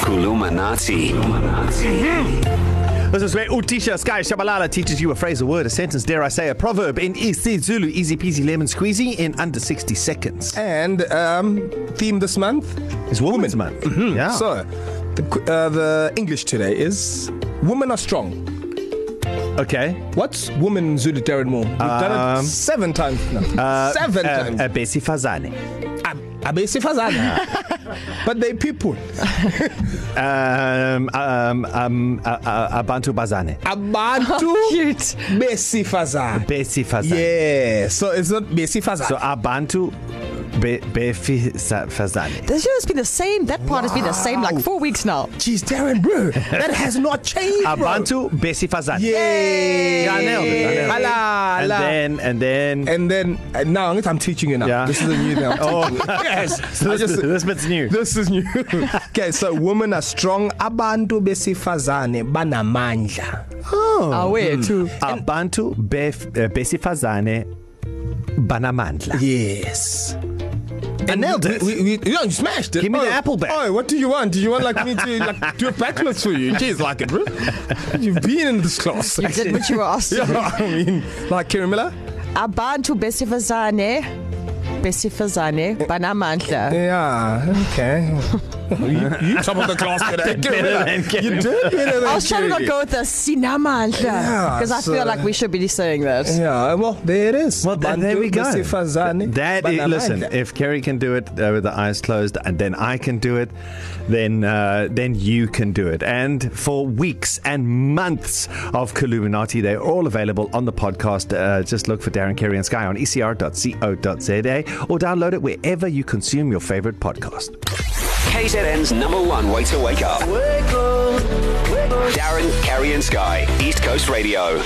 Kulumanati. This is where Utisha Sky Shabalala teaches you a phrase, a word, a sentence, dare I say, a proverb in isiZulu, easy peasy lemon squeezy in under 60 seconds. And um, theme this month It's Women's Woman. Month. Mm-hmm. Yeah. So, So, the, qu- uh, the English today is Women are strong. okay. What's woman in Zulu Darren Moore? We've um, done Um, it seven times now. Uh, seven uh, times. Uh, Bessie Fazane. Ab- Abesifazana. but they people. Um, um, um, uh, uh, Abantu Bazane. Abantu Cute. Besifazana. Bessie Fazane. Yeah, so it's not Besifazana. So, Abantu Be- Befi Sa- Fazane. This show has been the same. That part wow. has been the same like four weeks now. Jeez, Darren, bro, that has not changed. bro. Abantu Bessie Fazane. Yay! Yeah, I nailed it, I nailed it. Hala, And hala. then, and then. and then and now I'm teaching you now. Yeah. This is a new thing. I'm Oh. teaching you. yes. so I this, just, this bit's new. this is new. okay, so women are strong. Abantu besifazane banamandla. Oh, where Hmm. mm. too? Abantu bef, uh, besifazane banamandla. Yes. And I nailed we, it. We, we, we, yeah, you smashed it. Give me oh, the apple back. Oh, what do you want? Do you want like me to like do a backflips for you? Jeez, like it, bro. You've been in this class. You did what you were asked. yeah, yeah. I mean, like Kira Miller. Abantu besifazane, besifazane, banamandla. Yeah. Okay. you, you top of the class today. better than Kira Miller. You did better than I was trying to Kira. not go with the sinamandla Yeah, because I so- feel like we should be saying that. Yeah, well, there it is. Well, th- there we go. Besifazane, That is, listen, banamandla. if Kerry can do it uh, with the eyes closed, and then I can do it, then uh, then you can do it. And for weeks and months of Kaluminati, they're all available on the podcast. Uh, just look for Darren Kerry and Sky on E ecr.co.za or download it wherever you consume your favorite podcast. KZN's number one way to wake up. Wake up. Darren, Carrie, and Sky. East Coast Radio.